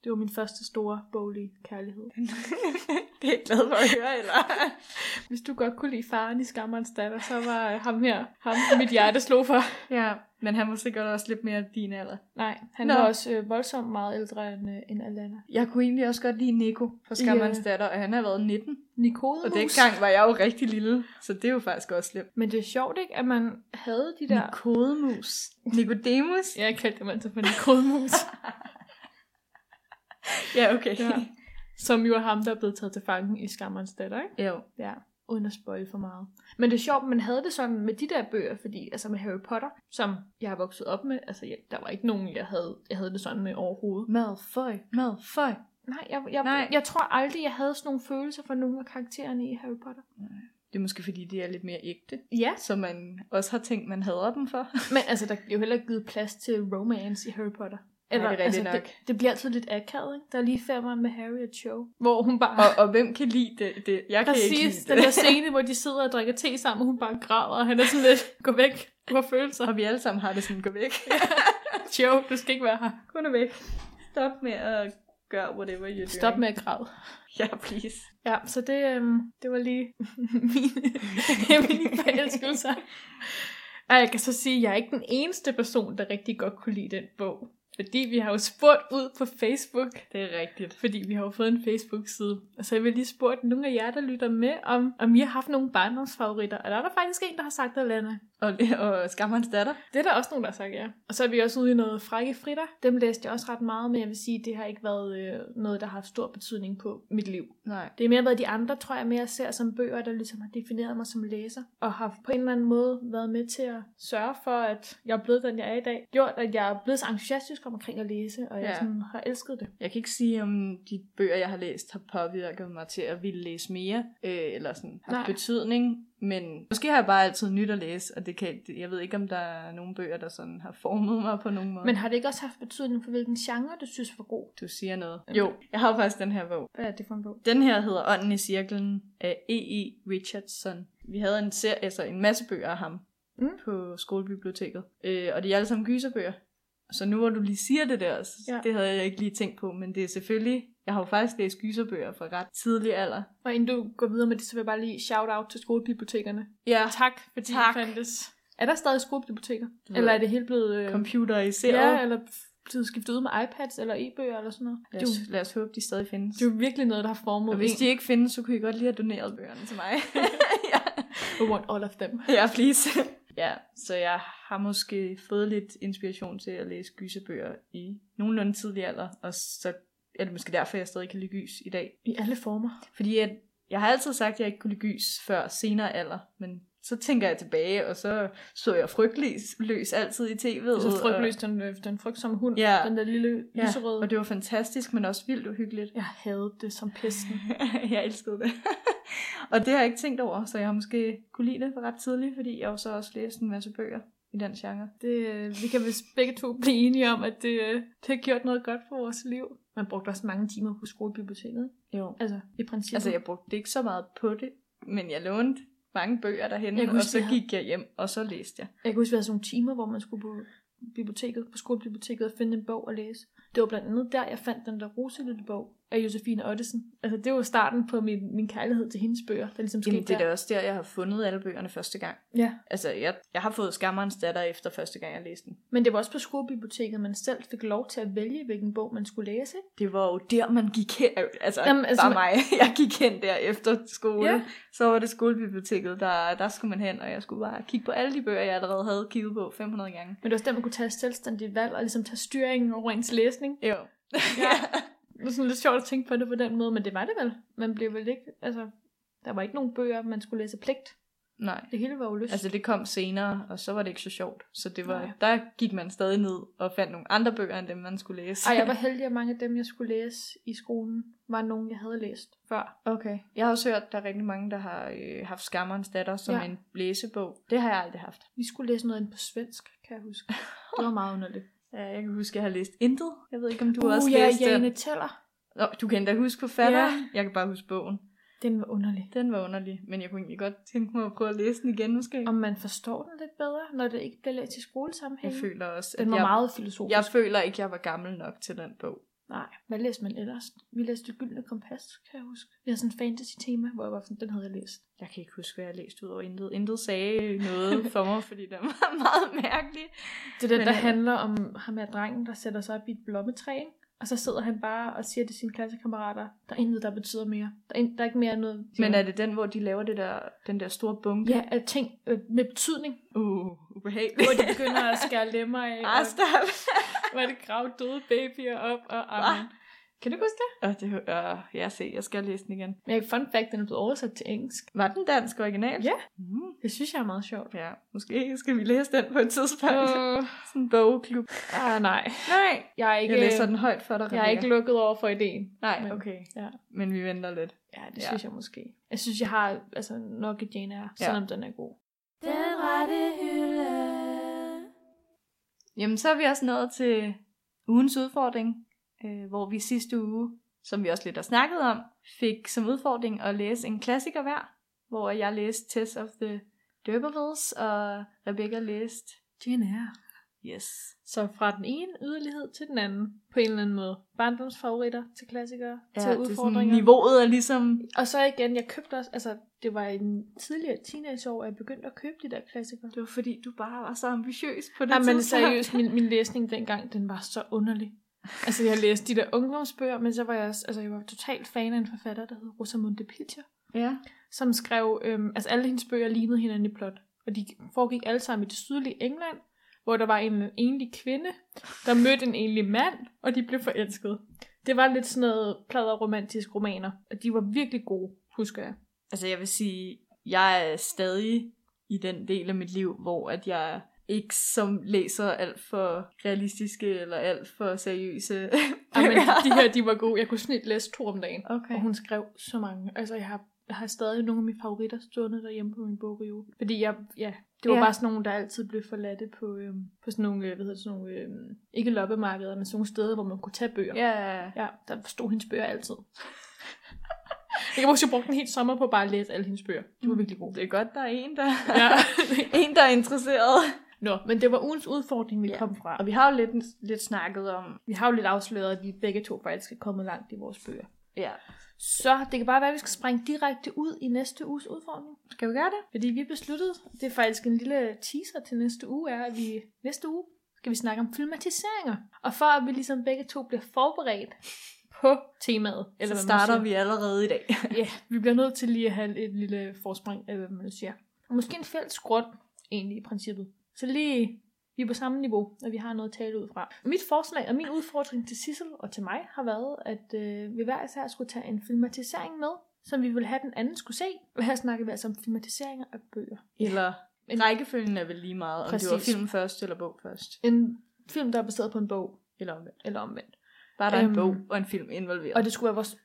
B: det var min første store boglige kærlighed.
A: det er jeg glad for at høre, eller?
B: Hvis du godt kunne lide faren i Skammerens datter, så var øh, ham her, ham mit hjerte slog for.
A: ja, men han var sikkert også lidt mere din alder.
B: Nej, han
A: Nå.
B: Nå. var også øh, voldsomt meget ældre end, øh, end Alana.
A: Jeg kunne egentlig også godt lide Nico fra Skammerens
B: Ja.
A: datter, og han har været 19.
B: øh, Nicodemus.
A: Og dengang var jeg jo rigtig lille, så det er jo faktisk også slemt.
B: Men det er sjovt, ikke, at man havde de der...
A: Nikodemus. Nikodemus?
B: Ja, jeg kaldte dem altid for Nicodemus.
A: ja, okay.
B: ja. Som jo er ham, der er blevet taget til fangen i Skammerens datter, ikke?
A: Jo.
B: Ja, uden at spoil for meget. Men det er sjovt, man havde det sådan med de der bøger, fordi altså med Harry Potter, som jeg har vokset op med, altså jeg, der var ikke nogen, jeg havde, jeg havde det sådan med overhovedet.
A: Malfoy, Malfoy.
B: Nej, jeg, jeg,
A: Nej.
B: Nej. jeg tror aldrig, jeg havde sådan nogle følelser for nogle af karaktererne i Harry Potter.
A: Det er måske fordi, de er lidt mere ægte.
B: Ja.
A: Så man også har tænkt, man hader dem for.
B: Men altså, der bliver jo heller ikke givet plads til romance i Harry Potter.
A: Nej, det er rigtigt nok.
B: Det, det bliver altid lidt akavet, ikke? Der er lige femmeren med Harry og Cho, hvor hun bare...
A: Og, og hvem kan lide det? det jeg kan ikke
B: Præcis,
A: lide
B: den
A: det.
B: der scene, hvor de sidder og drikker te sammen, og hun bare græder, og han er sådan lidt, gå væk, du har følelser.
A: Og vi alle sammen har det sådan, gå væk.
B: Cho, du skal ikke være her.
A: Kun væk. Stop med at gøre whatever you're doing.
B: Stop med at græde.
A: Ja, please.
B: Ja, så det, øhm, det var lige mine, mine forelskelser. Og jeg kan så sige, at jeg er ikke den eneste person, der rigtig godt kunne lide den bog. Fordi vi har jo spurgt ud på Facebook.
A: Det er rigtigt.
B: Fordi vi har jo fået en Facebook-side. Og så har vi lige spurgt nogle af jer, der lytter med, om, om I har haft nogle barndomsfavoritter. Og der er der faktisk en, der har sagt Alana.
A: Og, og skammerens datter.
B: Det er der også nogen, der har sagt ja. Og så er vi også ude i noget frække fritter. Dem læste jeg også ret meget, men jeg vil sige, at det har ikke været øh, noget, der har haft stor betydning på mit liv.
A: Nej.
B: Det er mere været de andre, tror jeg, mere ser som bøger, der ligesom har defineret mig som læser, og har på en eller anden måde været med til at sørge for, at jeg er blevet den, jeg er i dag. Gjort, at jeg er blevet så entusiastisk omkring at læse, og jeg
A: Ja.
B: ja. sådan, har elsket det.
A: Jeg kan ikke sige, om de bøger, jeg har læst, har påvirket mig til at ville læse mere, øh, eller sådan haft
B: Nej.
A: betydning. Men måske har jeg bare altid nyt at læse, og det kan, det- jeg ved ikke, om der er nogen bøger, der sådan har formet mig på nogen måde.
B: Men har det ikke også haft betydning for, hvilken genre du synes var god?
A: Du siger noget.
B: Jamen.
A: Jo, jeg har jo faktisk den her bog.
B: Hvad er det for en bog?
A: Den her hedder Ånden i cirklen af E.E. E. Richardson. Vi havde en, ser- altså en masse bøger af ham
B: Mm.
A: på skolebiblioteket, øh, og de er alle sammen gyserbøger. Så nu hvor du lige siger det der, så
B: Ja.
A: ja. det havde jeg ikke lige tænkt på, men det er selvfølgelig, jeg har jo faktisk læst gyserbøger fra ret tidlig alder.
B: Og inden du går videre med det, så vil jeg bare lige shout out til skolebibliotekerne.
A: Ja,
B: Tak, fordi
A: Tak.
B: I fandtes. Er der stadig skolebiblioteker?
A: ved
B: Eller er
A: jeg
B: det helt blevet... Øh,
A: computeriseret.
B: ja, eller blevet skiftet ud med iPads eller e-bøger eller sådan noget? Det
A: Lad
B: er jo,
A: os, lad os håbe, de stadig findes.
B: det er jo virkelig noget, der har formet
A: Og hvis
B: en.
A: de ikke findes, så kunne I godt lige have doneret bøgerne til mig. ja.
B: I want all of them.
A: ja, please. ja, så jeg har måske fået lidt inspiration til at læse gyserbøger i nogenlunde tidlig alder, og så er det måske derfor, jeg stadig kan lide gys i dag.
B: I alle former.
A: Fordi at, jeg har altid sagt, at jeg ikke kunne lide gys før senere alder, men så tænker jeg tilbage, og så så jeg frygtløs løs altid i tv'et.
B: Altså
A: og-
B: frygtløs, den, øh, den frygtsomme hund.
A: Ja.
B: Den der lille
A: Ja,
B: lyserøde.
A: og det var fantastisk, men også vildt uhyggeligt.
B: Jeg havde det som pesten.
A: jeg elskede det. og det har jeg ikke tænkt over, så jeg har måske kunne lide det ret tidligt, fordi jeg jo så også læste en masse bøger i den genre.
B: Det, øh, vi kan vist begge to blive enige om, at det, øh, det har gjort noget godt for vores liv. Man brugte også mange timer på skolebiblioteket. ikke?
A: Jo.
B: Altså, i princippet.
A: Altså, jeg brugte ikke så meget på det, men jeg lånte mange bøger derhen,
B: Jeg
A: jeg
B: kan
A: og
B: huske,
A: så
B: vi havde-
A: gik jeg hjem, og så læste jeg.
B: Jeg kan huske, vi havde sådan nogle timer, hvor man skulle på biblioteket, på skolebiblioteket og finde en bog og læse. Det var blandt andet der, jeg fandt den der Roselille bog af Josefine Ottesen. Altså, det var starten på min, min kærlighed til hendes bøger, der ligesom skete
A: Jamen, det er
B: der.
A: da også der, jeg har fundet alle bøgerne første gang.
B: Ja.
A: Altså, jeg, jeg har fået Skammerens datter efter første gang, jeg læste den.
B: Men det var også på skolebiblioteket, man selv fik lov til at vælge, hvilken bog man skulle læse. ikke?
A: Det var jo der, man gik hen. Altså,
B: Jamen,
A: Jamen,
B: altså,
A: altså bare
B: man-
A: mig. Jeg gik hen der efter skole.
B: Ja.
A: Ja. Så var det skolebiblioteket, der, der skulle man hen, og jeg skulle bare kigge på alle de bøger, jeg allerede havde kigget på 500 gange.
B: Men det var også der, man kunne tage et selvstændigt valg og ligesom tage styringen over ens læsning.
A: Jo.
B: Ja. Det var sådan lidt sjovt at tænke på det på den måde, men det var det vel. Man blev vel ikke, altså, der var ikke nogen bøger, man skulle læse pligt.
A: Nej.
B: Det hele var jo lyst.
A: Altså det kom senere, og så var det ikke så sjovt. Så det var,
B: Nej.
A: Nej. der gik man stadig ned og fandt nogle andre bøger, end dem man skulle læse.
B: Ej, jeg var heldig, at mange af dem, jeg skulle læse i skolen, var nogen, jeg havde læst før.
A: Okay. Jeg har også hørt, at der er rigtig mange, der har øh, haft Skammerens datter som
B: Ja.
A: ja. en læsebog. Det har jeg aldrig haft.
B: Vi skulle læse noget ind på svensk, kan jeg huske. Det var meget underligt.
A: Ja, jeg kan huske, at jeg har læst Intet. Jeg ved ikke, om du
B: uh,
A: har også
B: ja,
A: læst øh, den.
B: Jane Teller.
A: Nå, du kan da huske forfatteren. Ja. Jeg kan bare huske bogen.
B: Den var underlig.
A: Den var underlig, men jeg kunne egentlig godt tænke mig at prøve at læse den igen måske.
B: Om man forstår den lidt bedre, når det ikke bliver læst i
A: Jeg
B: skolesammenhæng.
A: føler også,
B: Den var
A: jeg,
B: meget filosofisk.
A: jeg føler ikke, jeg var gammel nok til den bog.
B: Nej, hvad læste man ellers? Vi læste Det Gyldne Kompas, kan jeg huske. Vi havde sådan en fantasy-tema, hvor jeg var sådan, den havde jeg læst.
A: Jeg kan ikke huske, hvad jeg læste ud over intet. Intet sagde noget for mig, fordi den var meget mærkelig.
B: Det er den,
A: Men
B: der
A: al-
B: handler om ham her drengen, der sætter sig op i et blommetræ, ikke? og så sidder han bare og siger til sine klassekammerater, der er intet, der betyder mere. Der er, in- der er ikke mere noget. siger
A: Men
B: han.
A: er det den, hvor de laver det der, den der store bunke?
B: Ja, af ting øh, med betydning,
A: Uh, ubehageligt.
B: hvor de begynder at skære lemmer af,
A: Ah,
B: og
A: stop.
B: hvor det graver døde babyer op,
A: Ah.
B: og amen. Kan du huske det?
A: Åh, det, uh, jeg se, jeg skal læse den igen.
B: Men fun fact, den er blevet oversat til engelsk.
A: Var den dansk original?
B: Ja.
A: Mm,
B: Det synes jeg er meget sjovt.
A: ja, måske skal vi læse den på et tidspunkt. Uh.
B: Uh,
A: Sådan en bogklub.
B: ah, nej.
A: Nej.
B: Jeg er ikke, øh,
A: Jeg læser den højt for dig,
B: jeg er
A: Rebecca.
B: ikke lukket over for ideen.
A: Nej,
B: Men-
A: okay.
B: Ja.
A: Men vi venter lidt.
B: Ja, det
A: Ja.
B: synes jeg måske. Jeg synes, jeg har altså, nok at Jane er,
A: Ja.
B: selvom den er god.
C: Den rette hylde.
A: Jamen, så er vi også nået til ugens udfordring, øh, hvor vi sidste uge, som vi også lidt har snakket om, fik som udfordring at læse en klassiker hver, hvor jeg læste Tess of the D'Urbervilles, og Rebecca læste
B: Jane er.
A: Yes.
B: Så fra den ene yderlighed til den anden, på en eller anden måde. Barndomsfavoritter til klassikere,
A: Ja,
B: til
A: det er sådan,
B: udfordringer.
A: niveauet er ligesom...
B: Og så igen, jeg købte også, altså det var i en tidligere teenageår, at jeg begyndte at købe de der klassikere.
A: Det var fordi, du bare var så ambitiøs på det
B: Nej, men
A: tidspunkt.
B: seriøst, min, min læsning dengang, den var så underlig. Altså jeg læste de der ungdomsbøger, men så var jeg også, altså jeg var totalt fan af en forfatter, der hed Rosamunde Pilcher,
A: Ja.
B: som skrev, øhm, altså alle hendes bøger lignede hinanden i plot. Og de foregik alle sammen i det sydlige England, hvor der var en enlig kvinde, der mødte en enlig mand, og de blev forelskede. Det var lidt sådan noget pladerromantisk romaner, og de var virkelig gode, husker jeg.
A: Altså, jeg vil sige, jeg er stadig i den del af mit liv, hvor at jeg ikke som læser alt for realistiske eller alt for seriøse
B: Ej, men de her, de var gode. Jeg kunne snit læse to om dagen. Okay.
A: Okay.
B: Og hun skrev så mange. Altså, jeg har, jeg har stadig nogle af mine favoritter stående derhjemme på min bogreol. Fordi jeg, ja, det var ja.
A: Ja.
B: bare sådan nogle, der altid blev forladte på, øhm, på sådan nogle, øh, hvad hedder det, sådan nogle, øhm, ikke loppemarkeder, men sådan nogle steder, hvor man kunne tage bøger.
A: Ja,
B: ja der stod hendes bøger altid. jeg kan huske, jeg brugte en hel sommer på bare at læse alle hendes bøger. De var virkelig gode.
A: det er Mm. godt, der er en, der,
B: Ja.
A: en, der er interesseret.
B: Nå, men det var ugens udfordring, vi
A: Ja.
B: ja. kom fra.
A: Og vi har jo lidt, lidt snakket om,
B: Vi har jo lidt afsløret, at vi begge to faktisk er kommet langt i vores bøger.
A: ja,
B: Så det kan bare være, at vi skal springe direkte ud i næste uges udfordring.
A: skal vi gøre det?
B: Fordi vi besluttede, det er faktisk en lille teaser til næste uge, er, at vi næste uge skal vi snakke om filmatiseringer. Og for at vi ligesom begge to bliver forberedt på temaet.
A: Eller så
B: hvad man
A: starter
B: siger.
A: vi allerede i dag.
B: Ja, vi bliver nødt til lige at have et lille forspring af, hvad man nu siger. Og måske en fælles grund, egentlig i princippet. Så lige, vi er på samme niveau, og vi har noget at tale ud fra. Mit forslag og min udfordring til Sissel og til mig har været, at øh, vi hver især skulle tage en filmatisering med, som vi ville have den anden skulle se. Og her snakker vi altså om filmatiseringer af bøger.
A: Eller
B: Men-
A: rækkefølgen er vel lige meget, om det var
B: Præcis.
A: film først eller bog først.
B: En film, der er baseret på en bog,
A: Eller omvendt.
B: eller omvendt.
A: Bare der er en
B: Øhm,
A: bog og en film involveret.
B: Og det skulle være vores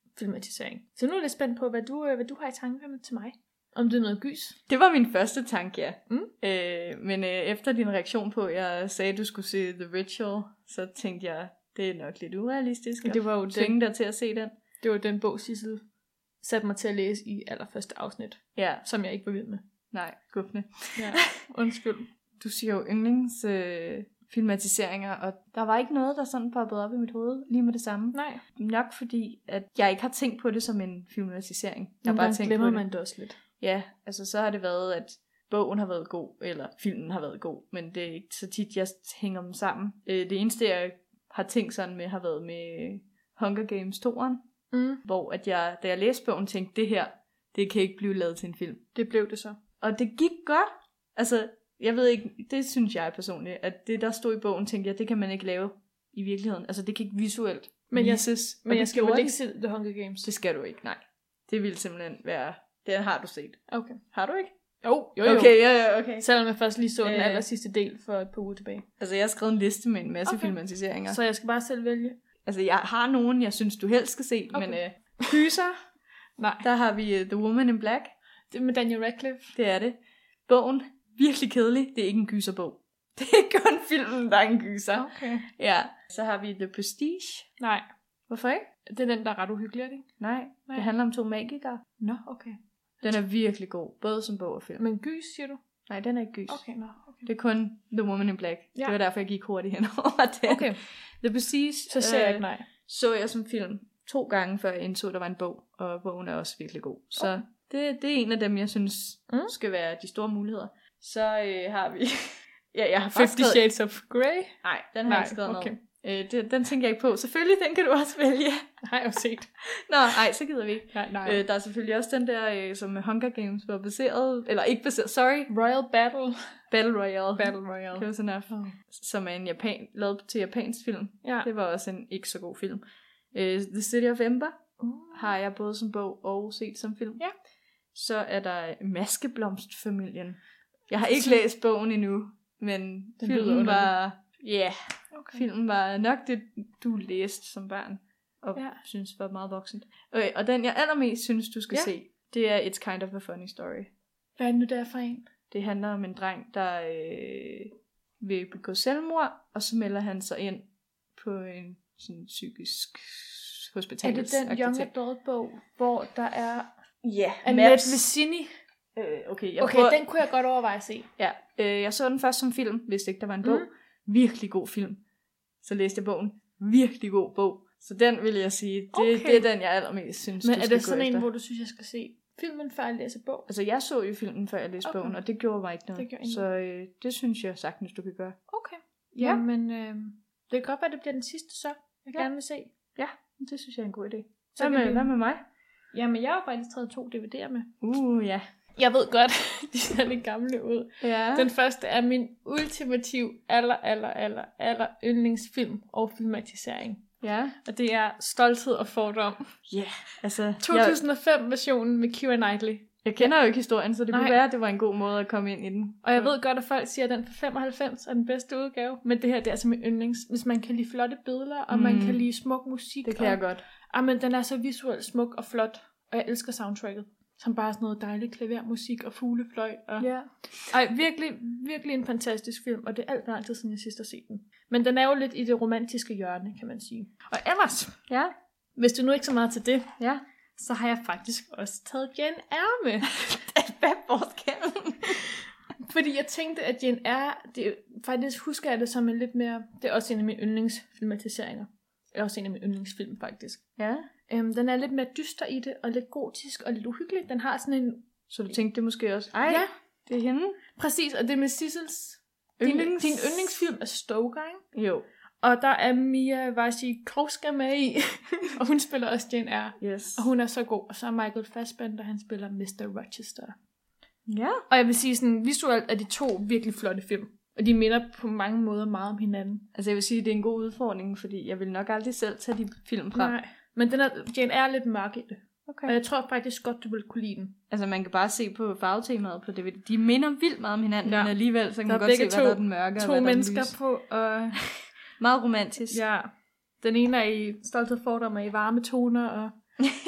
B: yndlingsfilmatisering. Så nu er jeg lidt spændt på, hvad du, øh, hvad du har i tankerne til mig. Om det er noget gys.
A: Det var min første tanke, ja.
B: Mm.
A: Øh, men øh, efter din reaktion på, at jeg sagde, at du skulle se The Ritual, så tænkte jeg, det er nok lidt urealistisk.
B: Det var jo
A: at
B: det.
A: tvinge dig til at se den.
B: Det var den bog, Sissel satte mig til at læse i allerførste afsnit,
A: Ja,
B: som jeg ikke var vild med.
A: nej, skuffende.
B: Ja. Undskyld.
A: Du siger jo yndlings... Øh, filmatiseringer, og der var ikke noget, der sådan poppede op i mit hoved lige med det samme.
B: Nej.
A: Nok fordi, at jeg ikke har tænkt på det som en filmatisering. Jeg
B: Jeg
A: har bare
B: bare
A: tænkt på
B: glemmer
A: det.
B: man det også lidt.
A: Ja, altså så har det været, at bogen har været god, eller filmen har været god, men det er ikke så tit, jeg hænger dem sammen. Øh, det eneste, jeg har tænkt sådan med, har været med Hunger Games 2'eren,
B: Mm.
A: hvor at jeg, da jeg læste bogen, tænkte, det her, det kan ikke blive lavet til en film.
B: Det blev det så.
A: Og det gik godt. Altså, jeg ved ikke, det synes jeg personligt, at det, der stod i bogen, tænkte jeg, det kan man ikke lave i virkeligheden. Altså, det kan ikke visuelt
B: Men jeg-
A: vises. og
B: Men
A: det
B: jeg skal
A: gjorde
B: vel
A: de.
B: ikke se The Hunger Games?
A: Det skal du ikke, nej. Det ville simpelthen være... Den har du set.
B: Okay.
A: Har du ikke?
B: Jo, jo, jo.
A: Okay, ja, ja, okay.
B: Selvom jeg først lige så den
A: Øh.
B: aller sidste del for et par uger tilbage.
A: Altså, jeg har skrevet en liste med en masse okay.
B: Okay.
A: filmatiseringer.
B: Så jeg skal bare selv vælge.
A: Altså, jeg har nogen, jeg synes, du helst skal se, okay.
B: Okay.
A: men øh, Kyser,
B: Nej.
A: der har vi uh, The Woman in Black.
B: Det er med Daniel Radcliffe.
A: Det er det. Bogen, virkelig kedelig. Det er ikke en gyserbog. Det er kun filmen, der er en gyser.
B: Okay.
A: Ja. Så har vi The Prestige.
B: Nej.
A: Hvorfor ikke?
B: Det er den, der er ret uhyggelig, er det ikke?
A: Nej,
B: Nej.
A: det handler om to magikere.
B: Nå, okay.
A: Den er virkelig god, både som bog og film.
B: Men gys, siger du?
A: Nej, den er ikke gys.
B: Okay, nå. Okay.
A: Det er kun The Woman in Black. Ja.
B: Ja.
A: Det var derfor, jeg gik hurtigt hen over den.
B: okay.
A: The Prestige
B: Så ser jeg
A: øh,
B: ikke nej.
A: så jeg som film to gange, før jeg indså, der var en bog, og bogen er også virkelig god. Så
B: Okay.
A: det, det er en af dem, jeg synes mm.
B: Mm.
A: skal være de store muligheder. Så øh, har vi... ja, jeg har bare
B: Fifty
A: skrevet...
B: Shades of Grey?
A: Nej, den har
B: Nej,
A: jeg ikke skrevet
B: okay.
A: okay. ned. Øh, det, den tænker jeg ikke på. Selvfølgelig, den kan du også vælge.
B: Har jeg jo set.
A: Nå, nej, så gider vi ikke.
B: Nej, nej.
A: Øh, der er selvfølgelig også den der, øh, som Hunger Games var baseret... Eller ikke baseret, sorry.
B: Royal Battle.
A: Battle Royale.
B: Battle Royale.
A: Close enough.
B: Oh.
A: Som er en japan, lavet til japansk film.
B: Ja.
A: Det var også en ikke så god film. Øh, The City of Ember.
B: Uh,
A: har jeg både som bog og set som film.
B: Ja.
A: Så er der Maskeblomstfamilien. Jeg har ikke læst bogen endnu, men
B: Den lyder
A: filmen
B: underlig.
A: var, ja,
B: Okay.
A: filmen var nok det, du læste som barn, og ja.
B: Ja.
A: synes var meget voksent. Okay, og den, jeg allermest synes, du skal ja.
B: Ja.
A: se, det er It's Kind of a Funny Story.
B: Hvad er det nu der er for en?
A: Det handler om en dreng, der øh, vil begå selvmord, og så melder han sig ind på en sådan psykisk
B: Er
A: hospital.
B: det den Young Adult bog, hvor der er
A: Ja,
B: Annette Vicini?
A: Øh, okay, jeg
B: Okay,
A: prøver,
B: den kunne jeg godt overveje at se.
A: ja, øh, jeg så den først som film, hvis ikke der var en bog. Mm. Virkelig god film. Så læste jeg bogen. Virkelig god bog. Så den vil jeg sige, det, okay.
B: Okay.
A: det er den, jeg allermest synes,
B: Men
A: du
B: er
A: skal
B: det sådan
A: gå
B: en,
A: efter.
B: hvor du synes, jeg skal se filmen, før jeg læser bog?
A: Altså, jeg så jo filmen, før jeg læste okay.
B: Okay.
A: bogen, og det gjorde mig ikke noget.
B: Det gjorde
A: så øh, det synes jeg sagtens, du kan gøre.
B: Okay.
A: Ja.
B: Ja. Jamen, øh, det kan godt være, det bliver den sidste så, jeg
A: Ja.
B: ja. gerne vil se.
A: Det synes jeg er en god idé.
B: Så
A: Så
B: kan
A: hvad, med,
B: vi-
A: hvad med mig?
B: Jamen, jeg har faktisk taget to DVD'er med.
A: Uh, ja.
B: Jeg ved godt, de ser lidt gamle ud.
A: ja.
B: Den første er min ultimativ aller, aller, aller, aller yndlingsfilm og filmatisering.
A: ja.
B: Og det er Stolthed og Fordom.
A: Altså, jeg,
B: 2005-versionen med Keira Knightley.
A: jeg kender jo ikke historien, så det Nej. kunne
B: Nej.
A: være, at det var en god måde at komme ind i den.
B: Og jeg ved godt, at folk siger, at den fra 95 er den bedste udgave, men det her det er altså min yndlings. Hvis man kan lide flotte billeder, og mm.
A: Mm.
B: man kan lide smuk musik.
A: Det kan
B: og,
A: jeg godt.
B: Ah, men den er så visuelt smuk og flot, og jeg elsker soundtracket, som bare er sådan noget dejligt klavermusik og fuglefløj. Og...
A: Ja.
B: Ej, virkelig, virkelig en fantastisk film, og det er alt for lang tid siden, jeg sidst har set den. Men den er jo lidt i det romantiske hjørne, kan man sige. Og ellers,
A: Ja.
B: hvis du nu ikke så meget til det,
A: Ja.
B: så har jeg faktisk også taget Jane Eyre med.
A: Hvad er forskellen?
B: Fordi jeg tænkte, at Jane Eyre, det, faktisk husker jeg det som en lidt mere... Det er også en af mine yndlingsfilmatiseringer. Eller også en af mine yndlingsfilm, faktisk.
A: Ja.
B: Øhm, den er lidt mere dyster i det, og lidt gotisk, og lidt uhyggelig. Den har sådan en...
A: Så du tænkte det måske også. Ej,
B: Ja,
A: det er hende.
B: præcis. Og det er med Sissels... Din,
A: Yndlings-
B: din yndlingsfilm er Stoker, ikke?
A: Jo.
B: Og der er Mia Wasikowska med i, og hun spiller også Jane Eyre.
A: Yes.
B: Og hun er så god. Og så er Michael Fassbender, han spiller Mr. Rochester.
A: Ja.
B: Og jeg vil sige sådan, visuelt er de to virkelig flotte film. Og de minder på mange måder meget om hinanden.
A: Altså jeg vil sige, at det er en god udfordring, fordi jeg vil nok aldrig selv tage de film frem.
B: Men den er, Jane er lidt mørk i det.
A: Okay.
B: Og jeg tror faktisk godt, du vil kunne lide den.
A: Altså man kan bare se på farvetemaet på DVD. De minder vildt meget om hinanden,
B: Ja.
A: ja. men alligevel så kan
B: Der
A: man
B: er
A: godt se,
B: begge
A: hvad
B: to-
A: der er den mørke og
B: to
A: hvad der er den
B: mennesker
A: lys.
B: på, og
A: Meget romantisk.
B: ja, den ene er i stolthed fordomme i varme toner, og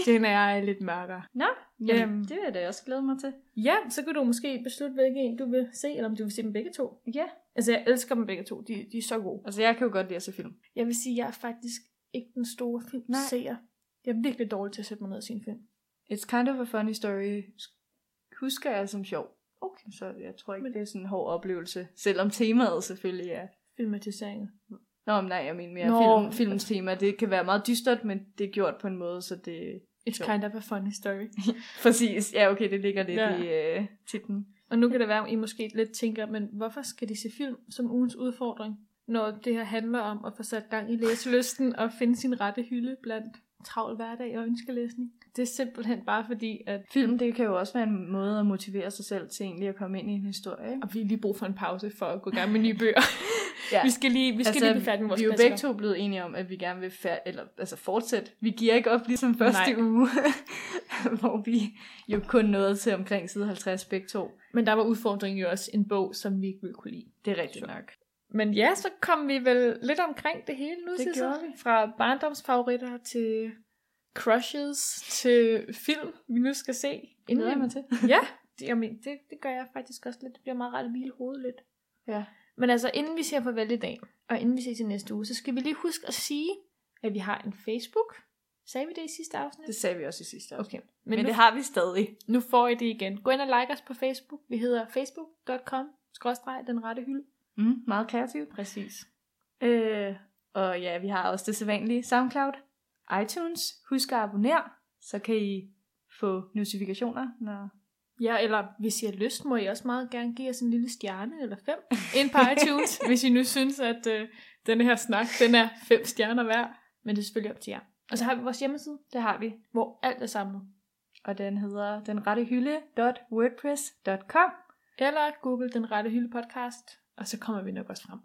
B: Jane er lidt mørkere.
A: Nå, jamen,
B: Øhm.
A: det vil jeg da også glæde mig til.
B: Ja, så kan du måske beslutte, hvilken en du vil se, eller om du vil se dem begge to.
A: Ja.
B: Altså, jeg elsker dem begge to. De, de er så gode.
A: Altså jeg kan jo godt lide at se film.
B: Jeg vil sige, at jeg er faktisk ikke den store filmseer. Jeg er virkelig dårlig til at sætte mig ned og se en film.
A: It's kind of a funny story. Husker jeg som sjov.
B: Okay.
A: Så jeg tror ikke, det er sådan en hård oplevelse. Selvom temaet selvfølgelig er...
B: Filmatiseringer.
A: Nå, men nej, jeg mener mere
B: Nå.
A: film, filmens tema. Det kan være meget dystert, men det er gjort på en måde, så det...
B: It's
A: Jo.
B: kind of a funny story.
A: Præcis. Ja, okay, det ligger lidt
B: Ja.
A: ja. i øh, titlen.
B: Og nu kan det være, at I måske lidt tænker, men hvorfor skal de se film som ugens udfordring, når det her handler om at få sat gang i læselysten og finde sin rette hylde blandt travl hverdag og ønskelæsning? Det er simpelthen bare fordi, at
A: Film, det kan jo også være en måde at motivere sig selv til egentlig at komme ind i en historie. ikke?
B: og vi har lige brug for en pause for at gå i gang med nye bøger. ja.
A: Ja.
B: Vi skal lige, vi skal altså, lige blive færdige med vores
A: vi er jo
B: klassikere.
A: begge to blevet enige om, at vi gerne vil fær- eller, altså fortsætte. Vi giver ikke op ligesom første
B: Nej.
A: Nej. uge, hvor vi jo kun nåede til omkring side 50 begge to.
B: Men der var udfordringen jo også en bog, som vi ikke ville kunne lide.
A: Det er rigtigt nok.
B: Men ja, så kom vi vel lidt omkring det hele nu,
A: Det
B: Sissel.
A: gjorde vi.
B: Fra barndomsfavoritter til crushes til film, vi nu skal se.
A: Glæder jeg mig til.
B: ja, det, jamen, det, det gør jeg faktisk også lidt. Det bliver meget rart at hvile hovedet lidt.
A: Ja.
B: Men altså, inden vi siger farvel i dag, og inden vi ses i næste uge, så skal vi lige huske at sige, at vi har en Facebook. Sagde vi det i sidste afsnit?
A: Det sagde vi også i sidste afsnit.
B: Okay. Men,
A: Men,
B: nu,
A: Men det har vi stadig.
B: nu får I det igen. Gå ind og like os på Facebook. Vi hedder facebook.com skråstreg den rette hylde.
A: Mm, meget kreativt.
B: Præcis.
A: Øh, og ja, vi har også det sædvanlige SoundCloud, iTunes. Husk at abonnere, så kan I få notifikationer, når
B: Ja, eller hvis I har lyst, må I også meget gerne give os en lille stjerne eller fem ind på iTunes, hvis I nu synes, at øh, denne her snak, den er fem stjerner hver. Men det er selvfølgelig op til jer. Og så har vi vores hjemmeside,
A: det har vi.
B: hvor alt er samlet.
A: Og den hedder denrettehylde.wordpress.com.
B: Eller Google Den Rette Hylde Podcast, og så kommer vi nok også frem.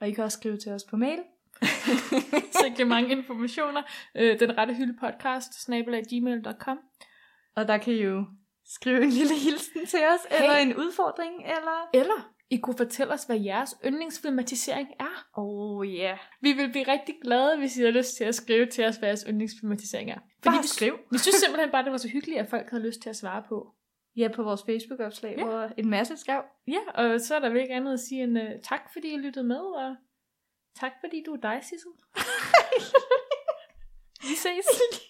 A: Og I kan også skrive til os på mail.
B: Sikkert mange informationer. Øh, den Rette Hylde Podcast, snabelaggmail.com.
A: Og der kan I jo skrive en lille hilsen til os, hey. eller en udfordring, eller...
B: Eller I kunne fortælle os, hvad jeres yndlingsfilmatisering er.
A: Oh yeah.
B: Vi vil blive rigtig glade, hvis I har lyst til at skrive til os, hvad jeres yndlingsfilmatisering er.
A: Bare
B: vi,
A: skriv.
B: vi synes simpelthen bare, det var så hyggeligt, at folk havde lyst til at svare på.
A: Ja, på vores Facebook-opslag,
B: Ja.
A: yeah. hvor en masse skrev.
B: Ja, og så er der vel ikke andet at sige end uh, tak, fordi I lyttede med, og tak, fordi du er dig, Sissel. vi ses.